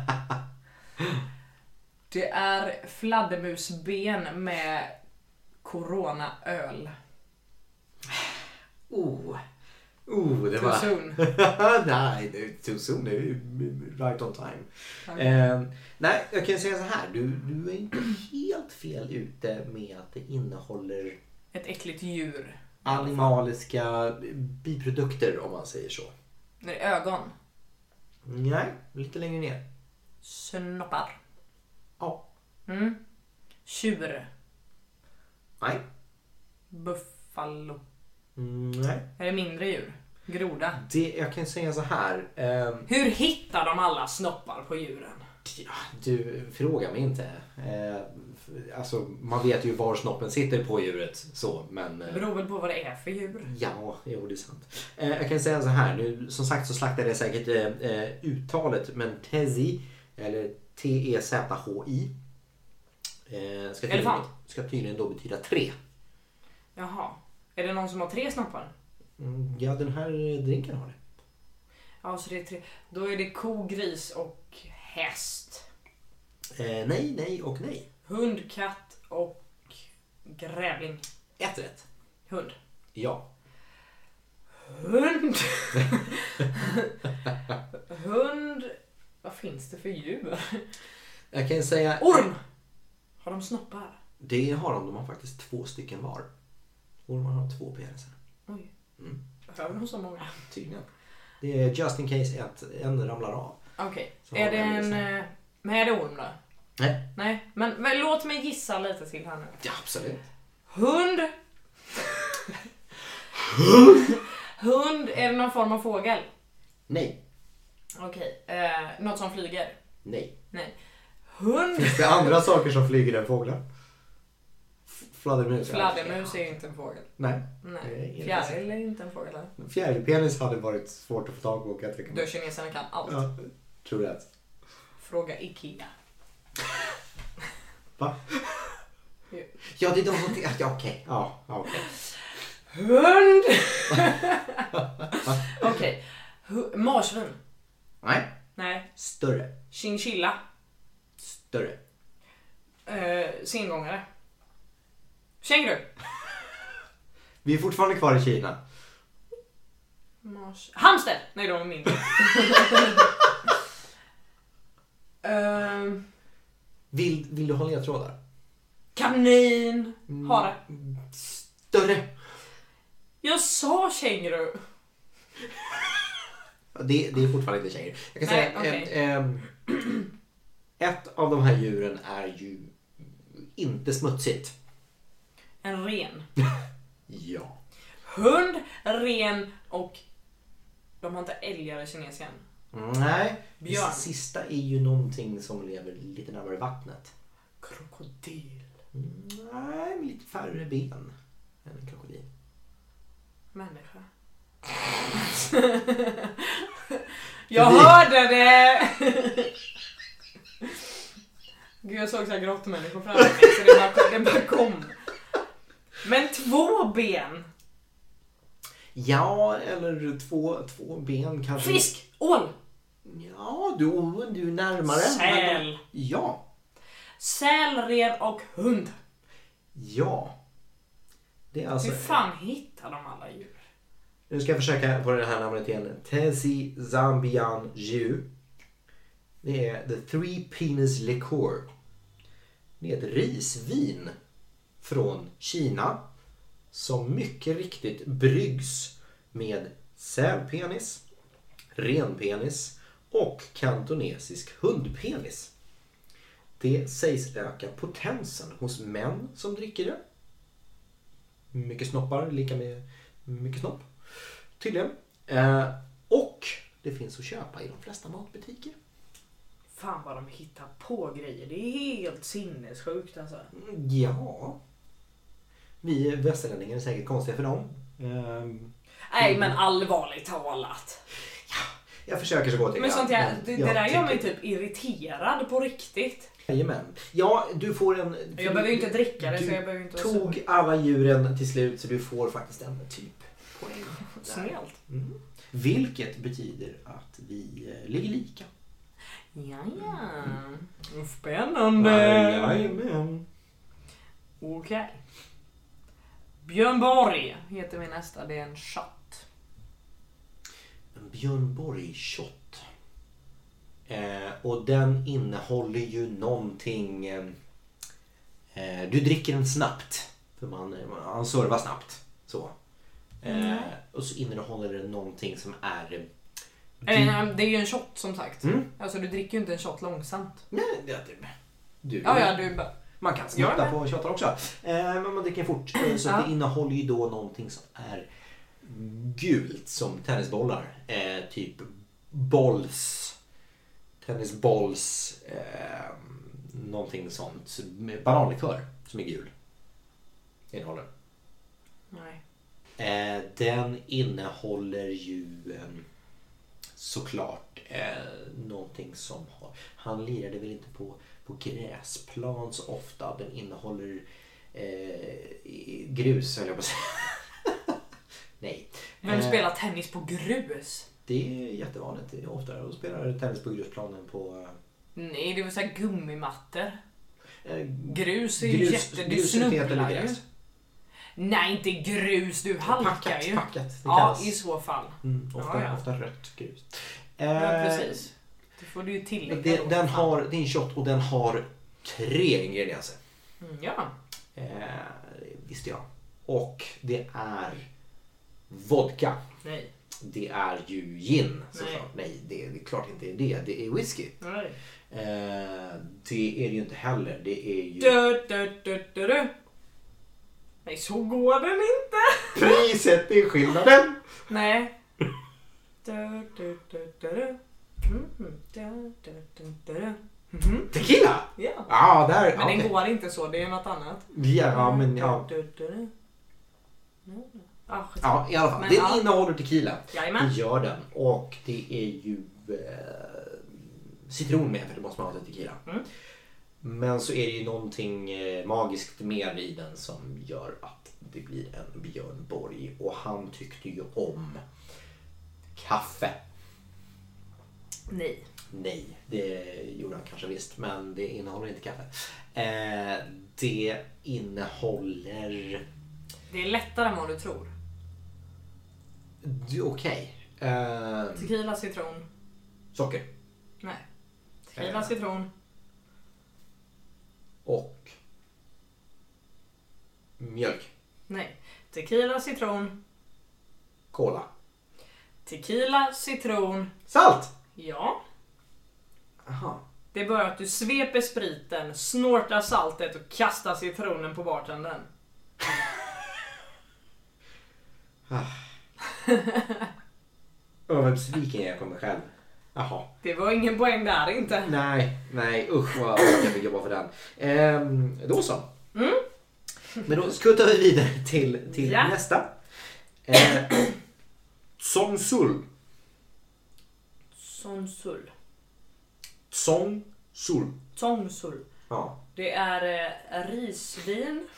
Det är fladdermusben med coronaöl.
Oh, oh det
Too
var...
soon.
nej, det är too soon. Det är right on time.
Tack.
Eh, nej, jag kan säga så här. Du, du är inte helt fel ute med att det innehåller
Ett äckligt djur.
animaliska biprodukter om man säger så.
Med ögon.
Nej, lite längre ner.
Snoppar.
Ja.
Mm. Tjur.
Nej.
Buffalo.
Mm, nej.
Är det mindre djur? Groda.
Det, jag kan säga så här. ehm,
Hur hittar de alla snoppar på djuren?
ja, du, fråga mig inte. Eh, f- alltså, man vet ju var snoppen sitter på djuret. Så, men...
Det
Eh,
beror väl på vad det är för djur.
Ja, jo det är sant. Eh, jag kan säga så här, nu, som sagt så slaktade jag säkert eh, eh, uttalet men Tezi, eller E T-E-Z-H-I, eh, ska, tydligen,
Elefant.
ska tydligen då betyda tre.
Jaha. Är det någon som har tre snoppar?
Mm, ja, den här drinken har det.
Ja, så det är tre. Då är det ko, gris och häst.
Eh, nej, nej och nej.
Hund, katt och grävling.
Ett rätt.
Hund.
Ja.
Hund! Hund. Vad finns det för djur?
Jag kan säga...
Orm! Har de snoppar?
Det har de, de har faktiskt två stycken var. Ormar har två peniser.
Oj.
Mm.
Behöver de så många?
Tydligen. Det är just in case att en ramlar av.
Okej.
Så
Är
har
det
vi en
en...
gissning.
eh, Men är det orm då?
Nej.
Nej. Men, men låt mig gissa lite till här nu.
Ja, absolut.
Hund. Hund, är det någon form av fågel?
Nej.
Okej. Eh, något som flyger?
Nej.
Nej. Hund.
Det är andra saker som flyger än fåglar. F- Fladdermus.
Fladdermus är ju inte en fågel.
Nej. Det är
Nej.
inte
Fjäril är inte en fågel. heller.
Fjärilpenis hade varit svårt att få tag på kan jag tänka
Du,
mig.
kineserna kan allt.
Ja, tror jag.
Fråga IKEA.
Va?
Jo.
Ja, det är de som... Ja, okej. Ja, ja, okej.
Hund! Okej. Hu- Marsvin?
Nej.
Nej.
Större.
Chinchilla?
Större.
Eh, sengångare? Känguru?
Vi är fortfarande kvar i Kina.
Mars... Hamster! Nej, de är mindre. Ehm,
Vill, vill du ha ledtrådar?
kanin? Hare?
Större.
Jag sa känguru!
Ja, Det, det är fortfarande inte tjejer. Jag kan
Nej,
säga att ett, ehm, ett av de här djuren är ju inte smutsigt.
En ren.
Ja.
Hund, ren och... De har inte älgar i kinesien.
Mm, Nej.
Björn.
Det sista är ju någonting som lever lite närmare vattnet.
Krokodil.
Nej, med lite färre ben än en krokodil.
Människa. jag hörde det! Gud, jag såg så här grottmänniskor framför mig så det bara, det bara kom. Men två ben!
Ja, eller två, två ben kanske.
Fisk! Ål!
Ja, du, du är närmare. Men
Säl!
de- Ja.
Säl, rev och hund.
Ja. Det är alltså...
Hur fan hittar de alla djur?
Nu ska jag försöka på det här namnet igen. Tessie Zambian Ju. Det är The Three Penis Liqueur. Det är ett risvin från Kina som mycket riktigt bryggs med sälpenis, renpenis och kantonesisk hundpenis. Det sägs öka potensen hos män som dricker det. Mycket snoppar, lika med mycket snopp. Tydligen. Eh, och det finns att köpa i de flesta matbutiker.
Fan vad de hittar på grejer. Det är helt sinnessjukt alltså.
Mm, Ja. Vi västerlänningar är säkert konstiga för dem. Ehm,
Nej men allvarligt talat.
jag försöker så gott jag
Men
kan.
sånt här, det, det
jag
där gör mig
tycker-
typ irriterad på riktigt.
Jajamän. Ja, du får en...
Jag behöver ju inte dricka det
du
så jag behöver inte vara sur.
tog alla djuren till slut så du får faktiskt en typ poäng. där.
Snällt.
Mm. Vilket betyder att vi eh, ligger lika.
Ja, ja. Mm. Spännande.
Jajamän.
Okej. Björn Borg heter min nästa. Det är en chatt.
En Björn Borg-shot. Eh, och den innehåller ju någonting... eh, Eh, du dricker den snabbt. För man, man servar snabbt. Så. Eh,
Mm.
och så innehåller den någonting som är... eh,
Eller, nej, Det är ju en shot som sagt.
Mm.
Alltså du dricker ju inte en shot långsamt.
Nej, det är du. Du,
Ja, ja, du bara...
Man kan
Ja,
snutta
men-
på tjatar också. Eh, men man dricker fort. Eh, Så
Ja.
det innehåller ju då någonting som är gult som tennisbollar. Eh, typ bolls. Tennisbolls. Eh, någonting sånt. Så med Bananlikör som är gul. Innehåller.
Nej.
Eh, den innehåller ju eh, såklart eh, någonting som har... Han lirade väl inte på, på gräsplan så ofta. Den innehåller eh, i- grus höll jag på att säga. Nej.
Vem
Eh,
spelar tennis på grus?
Det är jättevanligt. Det är oftare att spela tennis på grusplan än på...
Nej, det är väl såhär gummimattor.
Eh,
Grus är ju jätte... Du snubblar ju. Nej, inte grus. Du halkar
Packat,
ju.
packat. Det
Ja,
kallas.
i så fall.
Mm, ofta,
Ja, ja.
ofta rött grus.
Ja,
Eh,
precis. Då får du ju tillägga.
Men det,
då.
den har, det är en shot och den har tre ingredienser.
Mm, ja.
Eh, det visste jag. Och det är vodka.
Nej.
Det är ju gin såklart.
Nej.
Nej, det, det är klart inte det. Det är whisky.
Nej.
Eh, det är det ju inte heller. Det är ju...
Du, du, du, du, du. Nej, så går den inte.
Priset är skillnaden!
Nej. Du, du, du, du, du. Mm, du, du, du, du, du. Mhm.
Tequila!
Ja.
Ja, där...
Men
okej.
den går inte så, det är något annat.
Ja, men ja.
Du, du, du, du. Mm. Ah, skit.
Ja, i alla fall.
Men
den
ja.
innehåller tequila.
Jajamän.
Det gör den. Och det är ju eh, citron med för det måste man ha till tequila.
Mm.
Men så är det ju någonting eh, magiskt mer i den som gör att det blir en Björn Borg. Och han tyckte ju om kaffe.
Nej.
Nej, det gjorde han kanske visst, men det innehåller inte kaffe. Eh, det innehåller...
Det är lättare än vad du tror.
Det är Okej. Eh,
Tequila, citron.
socker.
Nej. Tequila,
Eh.
citron.
och mjölk,
Nej. Tequila, citron.
cola,
Tequila, citron.
salt.
Ja.
Aha.
Det är bara att du sveper spriten, snortar saltet och kastar citronen på bartendern.
Åh, vad besviken jag kommer själv. Jaha.
Det var ingen poäng där inte.
Nej, nej, usch vad jag vill jobba för den. Ehm, då så. Men då skuttar vi vidare till, till
Mm. Ja.
nästa. Eh, Tsong Sul.
Sonsul.
Tsong Sul.
Tongsul.
Ja.
Det är eh, risvin.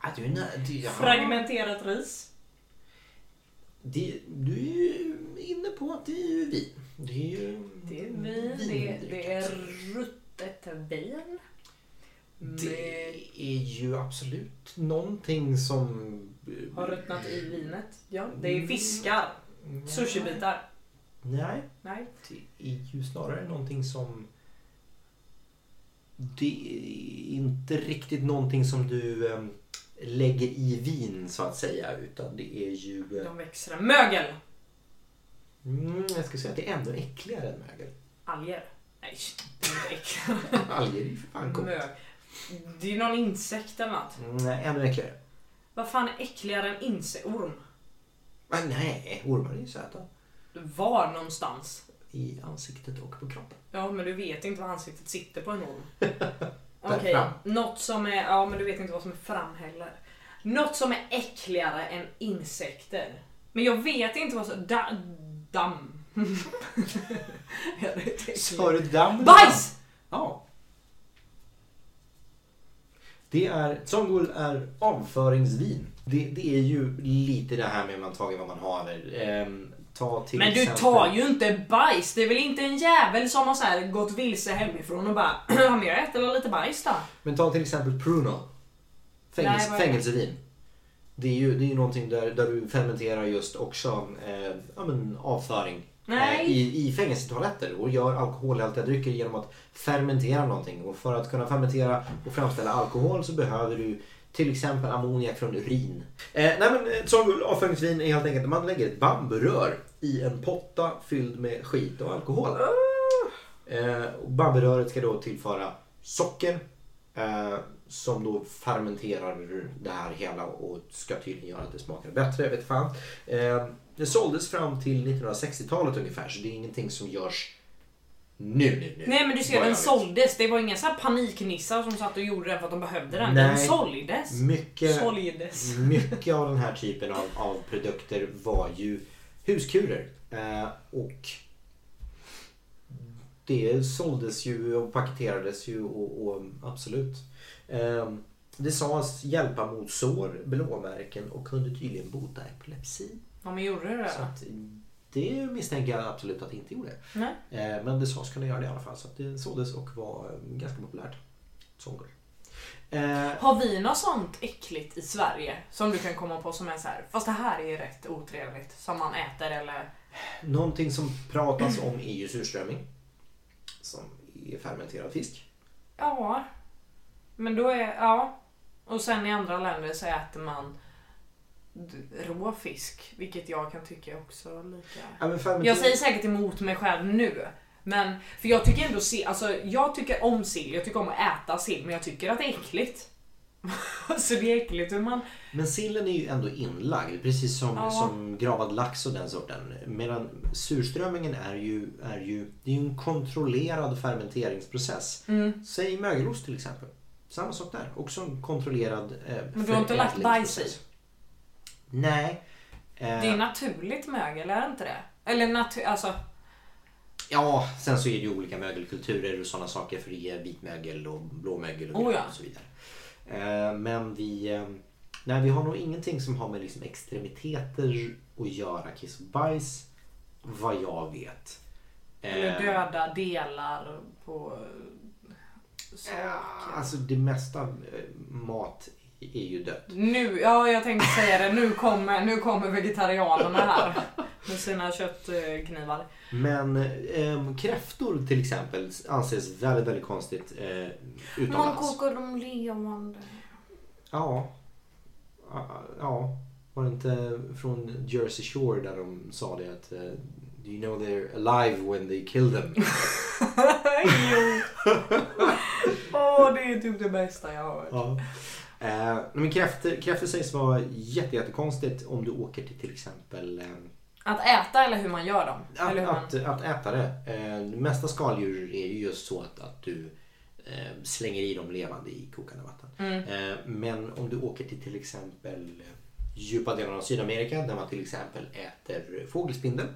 Ah, du, är nä- du, ja.
Fragmenterat ris.
Det- du är ju inne på att det är ju vin. Det är ju
Det är vin. Det, det är ruttet vin.
Det är ju absolut någonting som... eh,
Har ruttnat i vinet. Ja. Det
Mm.
är fiskar. Sushibitar.
Nej,
Nej.
det är ju snarare någonting som... Det är inte riktigt någonting som du eh, lägger i vin så att säga. Utan det är ju... eh,
De växer mögel.
Mm, jag skulle säga att det är ändå äckligare än mögel.
Alger. Nej, det är inte äckligt.
Alger är ju för fan gott.
Mög. Det är någon insekt eller något.
Mm, Nej, ännu äckligare.
Vad fan är äckligare än insektorm?
Men nej, ormar är ju söta.
Var någonstans?
I ansiktet och på kroppen.
Ja, men du vet inte vad ansiktet sitter på en orm.
Där
Okej,
fram.
något som är... Ja, men du vet inte vad som är fram heller. Något som är äckligare än insekter. Men jag vet inte vad som... Da, damm. Ja, det är äckligt.
Sa du damm?
Bajs!
Ja. Det är, Tsongul är avföringsvin. Det, det är ju lite det här med man tager vad man haver. Ehm, ta till
Men du
exempel-
tar ju inte bajs! Det är väl inte en jävel som har så här gått vilse hemifrån och bara har mer ätit eller lite bajs då?
Men ta till exempel Pruno. Fängels,
Nej, vad är det?
fängelsevin. Det är ju det är ju någonting där, där du fermenterar just också eh, ja, men avföring.
Nej.
Eh, i, I fängelsetoaletter och gör alkoholhaltiga drycker genom att fermentera någonting. Och för att kunna fermentera och framställa alkohol så behöver du till exempel ammoniak från urin. Eh, nej men ett sånt avföringsvin är helt enkelt att man lägger ett bamburör i en potta fylld med skit och alkohol.
Ah.
Eh, och Bamberöret ska då tillföra socker eh, som då fermenterar det här hela och ska tydligen göra att det smakar bättre. Jag vet fan. Eh, det såldes fram till 1960-talet ungefär så det är ingenting som görs nu. nu, nu
Nej men du ser
Vad jag
den
vet.
såldes. Det var inga så här paniknissar som satt och gjorde den för att de behövde den. Den
Nej.
såldes.
Mycket,
Såldes.
mycket av den här typen av, av produkter var ju huskurer. Eh, och det såldes ju och paketerades ju och, och absolut. Eh, det sades hjälpa mot sår, blåmärken och kunde tydligen bota epilepsi.
Ja men gjorde det
Så
det?
att det misstänker jag absolut att det inte gjorde.
Nej.
Eh, Men det sades kunna göra det i alla fall. Så att det såldes och var eh, ganska populärt. Sångor. Eh,
Har vi något sånt äckligt i Sverige som du kan komma på som är så här, fast det här är rätt otrevligt som man äter eller?
Någonting som pratas om är ju surströmming. Som är fermenterad fisk.
Ja. Men då är, ja. Och sen i andra länder så äter man d- rå fisk, vilket jag kan tycka är också lika...
Ja, men fermenterad-
Jag säger säkert emot mig själv nu. Men, för jag tycker ändå sill, alltså jag tycker om sill, jag tycker om att äta sill, men jag tycker att det är äckligt. så det är äckligt hur man...
Men sillen är ju ändå inlagd, precis som,
Ja.
som gravad lax och den sorten. Medan surströmmingen är ju, är ju, det är ju en kontrollerad fermenteringsprocess.
Mm.
Säg mögelost till exempel. Samma sak där, också en kontrollerad eh,
Men du har inte lagt bajs i?
förädlingsprocess. Nej. Eh,
Det är naturligt mögel, är det inte det? Eller natur... Alltså...
Ja, sen så är det ju olika mögelkulturer och sådana saker för det är vitmögel och blåmögel och,
Oh ja.
och så vidare. Eh, Men vi, eh, nej, vi har nog ingenting som har med liksom extremiteter att göra, kiss och bajs, vad jag vet.
Eller
Eh,
döda delar på... saker.
Alltså det mesta eh, mat är ju dött.
Nu, ja jag tänkte säga det, nu kommer, nu kommer vegetarianerna här. Med sina köttknivar.
Men eh, kräftor till exempel anses väldigt, väldigt konstigt eh,
Man
utomlands.
kokar dem levande.
Ja. Ja, Ja. Var det inte från Jersey Shore där de sa det att eh, Do you know they're alive when they kill them?
jo! Åh, det är typ det bästa jag har hört.
ja. Eh, men kräftor, kräftor sägs vara jätte, jättekonstigt om du åker till till exempel eh,
Att äta eller hur man gör dem?
att,
eller hur man...
att, att äta det. Eh, det mesta skaldjur är ju just så att, att du eh, slänger i dem levande i kokande vatten.
Mm.
Eh, men om du åker till till exempel djupa delar av Sydamerika där man till exempel äter fågelspindel.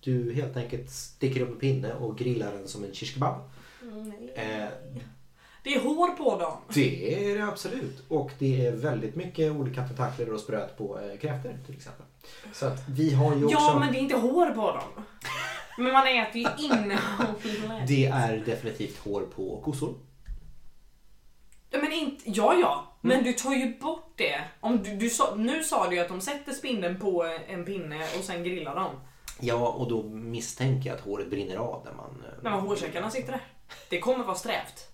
Du helt enkelt sticker upp en pinne och grillar den som en shish kebab.
Mm,
Eh,
Det är hår på dem.
det är det absolut. Och det är väldigt mycket olika tentakler och spröt på eh, kräftor till exempel. Så att vi har ju också...
Ja, men det är inte hår på dem. Men man äter ju innehållet.
Det är definitivt hår på kossor.
Ja, Men inte, ja, ja. Men du tar ju bort det. Om du, du sa, nu sa du ju att de sätter spindeln på eh, en pinne och sen grillar dem.
Ja, och då misstänker jag att håret brinner av när man... eh,
Men vad hårsäckarna sitter där. Det kommer vara strävt.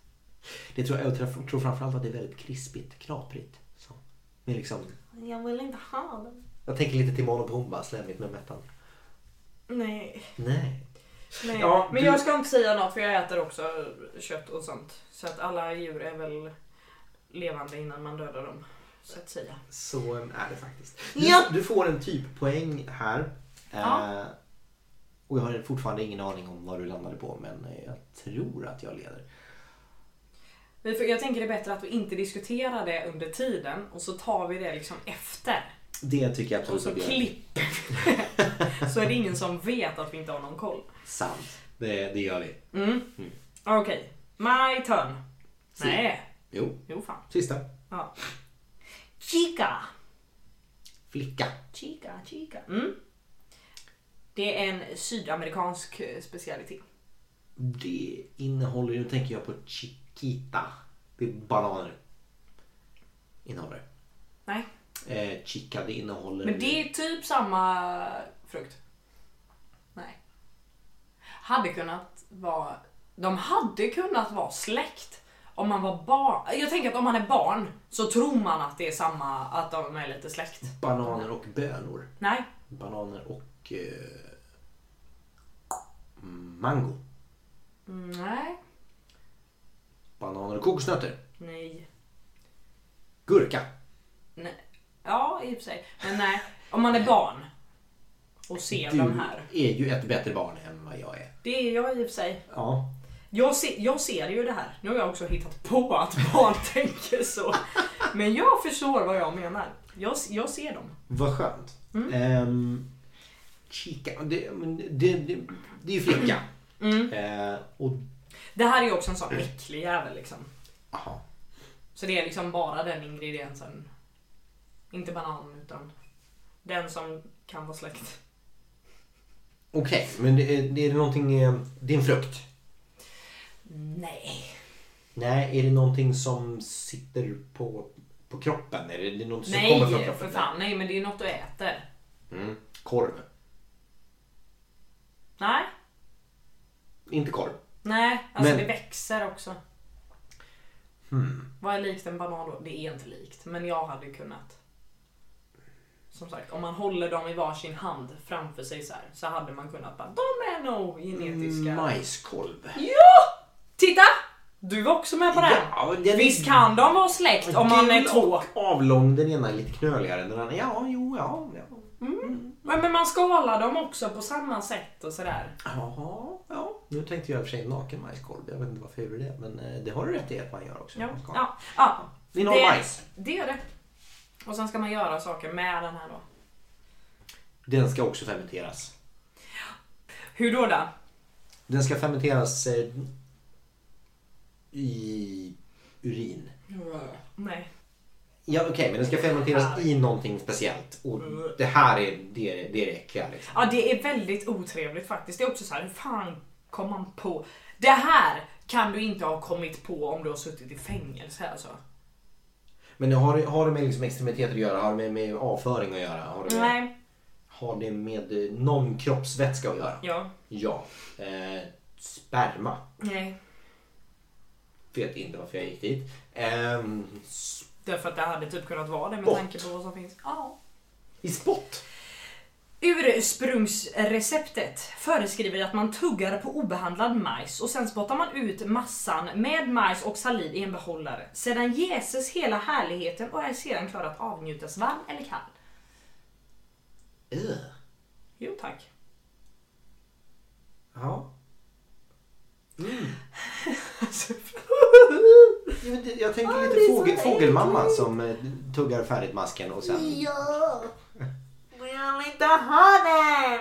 Det tror jag, jag tror tror framförallt att det är väldigt krispigt, knaprigt. Så. Men liksom,
Jag vill inte ha dem.
jag tänker lite till Timon och Pumba, slemmigt med mättan.
Nej.
Nej.
Nej.
Ja,
men
du-
jag ska inte säga något för jag äter också kött och sånt. Så att alla djur är väl levande innan man dödar dem. Så att säga.
Så eh, är det faktiskt. Du,
Ja.
du får en typ poäng här.
Ja.
Eh, och jag har fortfarande ingen aning om vad du landade på, men eh, jag tror att jag leder.
Vi får- Jag tänker det är bättre att vi inte diskuterar det under tiden och så tar vi det liksom efter.
Det tycker jag
Och
absolut
så
att jag
klipper vi. Så är det ingen som vet att vi inte har någon koll.
Sant. Det, det gör vi.
Mm.
Mm.
Okej, my turn.
Si.
Nej,
Jo,
jo fan.
sista.
Ja.
Chica.
Flicka.
Chica, chica.
Mm. Det är en sydamerikansk eh, specialitet.
Det innehåller, nu tänker jag på Chiquita. Det är bananer. Innehåller.
Nej,
Eh, chica, det innehåller...
Men det är typ samma frukt. Nej. Hade kunnat vara... De hade kunnat vara släkt om man var barn. Jag tänker att om man är barn så tror man att det är samma, att de är lite släkt.
Bananer och bönor.
Nej,
Bananer och... Eh, mango.
nej,
Bananer och kokosnötter.
nej,
Gurka.
nej. Ja, i och för sig. Men nej, om man är barn och ser
Du
de här.
är ju ett bättre barn än vad jag är.
Det är jag i och för sig.
Ja.
Jag, se, jag ser ju det här. Nu har jag också hittat på att barn tänker så. Men jag förstår vad jag menar. Jag, s- jag ser dem.
Vad skönt.
Mm.
Ehm, chica, det, men det, det, det är ju flicka.
Mm.
Eh, och...
Det här är ju också en sån äcklig jävel liksom.
Aha.
Så det är liksom bara den ingrediensen. Inte banan utan den som kan vara släkt.
Okej, men det, är- det är det någonting... eh, Det är en frukt. Mm.
Nej.
Nej, är det någonting som sitter på, på kroppen? Är det, det är något som kommer från
Nej
kroppen?
för fan. Nej men det är ju något du äter.
Mm. Korv.
Nej.
Inte korv.
Nej. Alltså
Men-
det växer också.
Hmm.
Vad är likt en banan då? Det är inte likt, men jag hade kunnat. Som sagt, om man håller dem i varsin hand framför sig så här så hade man kunnat bara, de är nog
Mm,
genetiska.
Majskolv.
Ja! Titta! Du var också med på det här.
Ja, den är
Visst kan de vara släkt om man är
gul
två.
och Avlång, den ena är lite knöligare än den andra. Ja, jo, ja. ja.
Men, men man skalar dem också på samma sätt och sådär.
Jaha, ja. Nu tänkte jag i och för sig naken majskolv. Jag vet inte varför jag gjorde det. Men eh, det har du rätt i att man gör också.
Ja,
Man ska.
ja, ja.
Det är någon majs.
Det är det. Och sen ska man göra saker med den här då.
Den ska också fermenteras.
Hur då då?
Den ska fermenteras eh, i urin.
Nej.
Ja okej, men den ska fermenteras i någonting speciellt. Och det här är det, är- det, är det äckliga. Liksom.
Ja, det är väldigt otrevligt faktiskt. Det är också så här, hur fan kom man på? Det här kan du inte ha kommit på om du har suttit i fängelse alltså.
Men har, det- har det med liksom extremiteter att göra? Har det med, med avföring att göra? Har det med,
Nej.
Har det med eh, någon kroppsvätska att göra?
Ja.
Ja. Eh, sperma.
Nej.
Vet inte varför jag gick dit. Ehm, s-
Därför att det hade typ kunnat vara det med
Spott.
tanke på vad som finns. Ja.
I spott.
Ursprungsreceptet föreskriver att man tuggar på obehandlad majs och sen spottar man ut massan med majs och saliv i en behållare. Sedan jäses hela härligheten och är sedan klar att avnjutas varm eller kall.
Ugh.
Jo tack.
Ja. Mm. Jo, det- Jag tänker
det är
lite
så
fågel,
äckligt.
fågelmamman som eh, tuggar färdigt masken och sen...
Ja. Men jag vill inte ha den.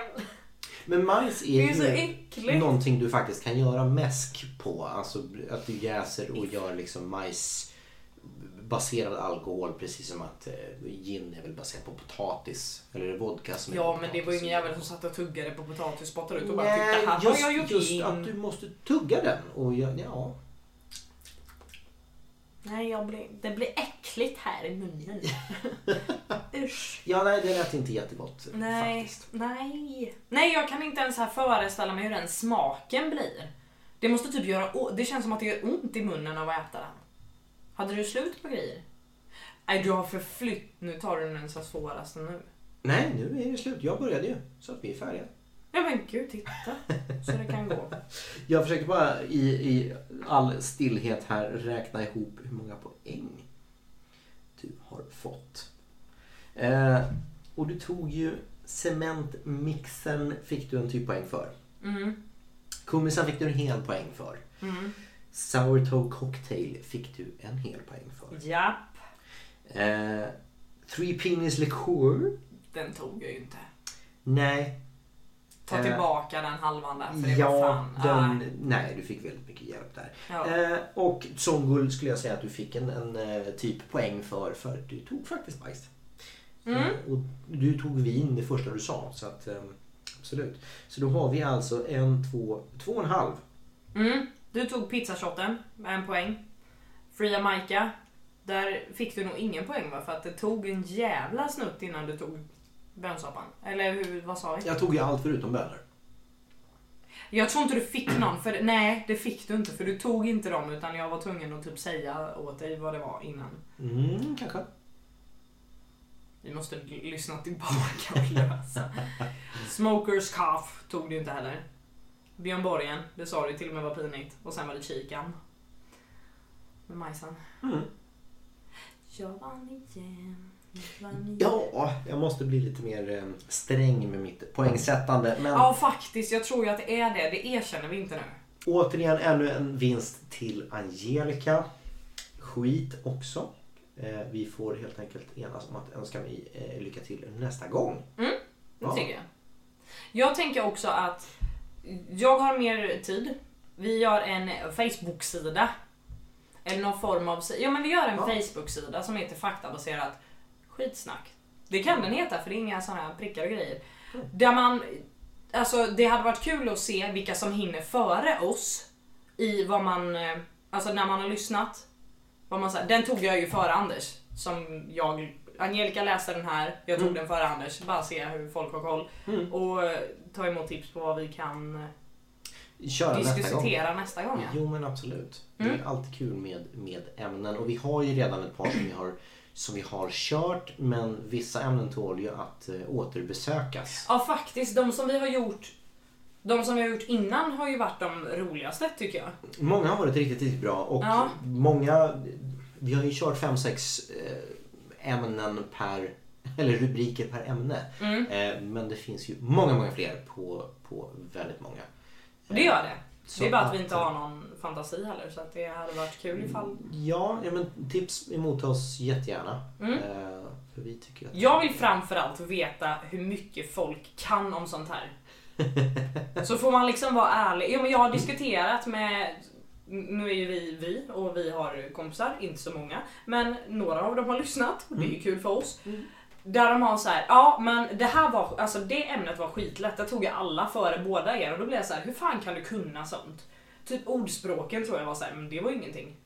Men majs är,
Det är så
ju
äckligt.
någonting du faktiskt kan göra mäsk på. Alltså att du jäser och gör liksom majsbaserad alkohol precis som att eh, gin är väl baserat på potatis. Eller är det vodka som är
Ja
på
men det var ju
potatis?
ingen jävel som satt och tuggade på potatis och spottade ut och bara
Nej,
titta här har
just,
jag gjort
just
in.
att du måste tugga den. Och jag, ja.
Nej, jag blir, det blir äckligt här i munnen. Usch.
ja, nej det lät inte jättegott
Nej,
faktiskt.
nej. Nej, jag kan inte ens här föreställa mig hur den smaken blir. Det måste typ göra o- Det känns som att det gör ont i munnen av att äta den. Hade du slut på grejer? Nej, du har förflytt. Nu tar du den så här svåraste nu.
Nej, nu är det slut. Jag började ju. Så att vi är färdiga.
Ja men gud, titta. Så det kan gå.
Jag försöker bara i, i all stillhet här räkna ihop hur många poäng du har fått. Eh, och du tog ju cementmixen fick du en typ poäng för.
Mm,
Kummisen fick du en hel poäng för.
mm.
Sourdough cocktail fick du en hel poäng för.
Japp.
Eh, three penis liqueur?
Den tog jag ju inte.
Nej.
Ta
Eh,
tillbaka den halvan där, för Alltså, det var
Ja,
fan... Ah.
den,
Nej.
nej, du fick väldigt mycket hjälp där.
Ja.
Eh, och Songul skulle jag säga att du fick en, en eh, typ poäng för, för du tog faktiskt bajs.
Mm.
Eh, och du tog vin det första du sa, så att eh, absolut. Så då har vi alltså en, två, två och en halv. Eh.
Mm, du tog pizzashotten med en poäng. Fria Maika, där fick du nog ingen poäng va? För att det tog en jävla snutt innan du tog bönsoppan. Eller hur, vad sa vi?
Jag tog ju allt förutom bönor.
Jag tror inte du fick någon, för nej det fick du inte för du tog inte dem utan jag var tvungen att typ säga åt dig vad det var innan.
Mm, kanske.
Vi måste l- lyssna tillbaka och lösa. Smokers cough tog du inte heller. Björn Borgen, det sa du till och med var pinigt. Och sen var det kikan. Med majsen.
Mm.
Jag vann igen. Jag vann igen.
Ja, jag måste bli lite mer eh, sträng med mitt poängsättande. Men
Ja faktiskt, jag tror ju att det är det. Det erkänner vi inte nu.
återigen ännu en vinst till Angelica. Skit också. Eh, vi får helt enkelt enas om att önska mig eh, lycka till nästa gång.
Det
Ja.
tycker jag. Jag tänker också att jag har mer tid. Vi gör en Facebook-sida. Eller någon form av... si- Ja men vi gör en
Ja.
Facebook-sida som heter faktabaserat skitsnack. Det kan den heta för det är inga sådana här prickar och grejer.
Mm.
Där man... Alltså det hade varit kul att se vilka som hinner före oss i vad man... eh, Alltså när man har lyssnat. Vad man, så här- den tog jag ju före Anders. Som jag... Angelica läste den här, jag
Mm.
tog den före Anders. Bara se hur folk har koll. Och eh, ta emot tips på vad vi kan... eh,
köra nästa gång.
diskutera nästa gång. ja. Mm.
Jo men absolut. Det är alltid kul med, med ämnen och vi har ju redan ett par som vi har, som vi har kört men vissa ämnen tål ju att eh, återbesökas.
Ja faktiskt, de som vi har gjort de som vi har gjort innan har ju varit de roligaste tycker jag.
Många har varit riktigt, riktigt bra och
Ja.
många, vi har ju kört 5-6 ämnen per, eller rubriker per ämne.
Mm.
Eh, Men det finns ju många, många fler på, på väldigt många. Eh,
Och det gör det.
Så
Det är bara att vi inte har någon fantasi heller så att det hade varit
Mm.
kul ifall...
Ja, ja men tips emot oss jättegärna. Eh, För vi tycker att...
Mm. Jag vill framförallt veta hur mycket folk kan om sånt här. Så får man liksom vara ärlig. Jo, men jag har diskuterat med, nu är ju vi vi och vi har kompisar, inte så många, men några av dem har lyssnat och det är ju kul för oss. Där de har så här, ja men det här var, alltså det ämnet var skitlätt, det tog jag alla före båda er och då blev jag så här, hur fan kan du kunna sånt? Typ ordspråken tror jag var så här, men det var ju ingenting.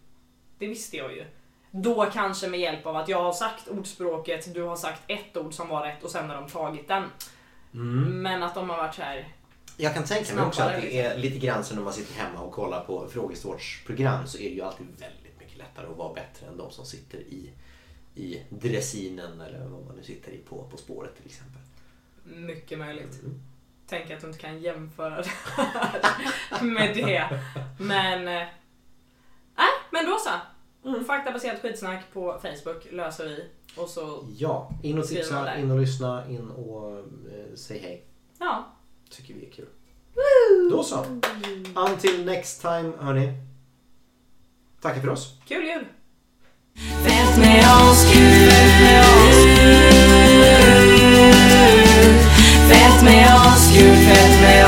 Det visste jag ju. Då kanske med hjälp av att jag har sagt ordspråket, du har sagt ett ord som var rätt och sen har de tagit den. Men att de har varit så här,
Mm. Jag kan tänka mig
Snabbare,
också att det är lite grann som när man sitter hemma och kollar på frågesportsprogram så är det ju alltid väldigt mycket lättare att vara bättre än de som sitter i, i dressinen eller vad man nu sitter i på På spåret till exempel.
Mycket möjligt. Tänk att du inte kan jämföra det här med det. Men... eh, Nej, men då så. Faktabaserat skitsnack på Facebook löser vi. Och så,
Ja, in och
Skriver man
tipsa,
där.
in och lyssna, in och eh, säg hej.
ja.
Tycker vi är kul. Då så. Until next time hörni. Tackar för oss.
Kul jul!
Fett med oss kul Fett med oss kul, fett med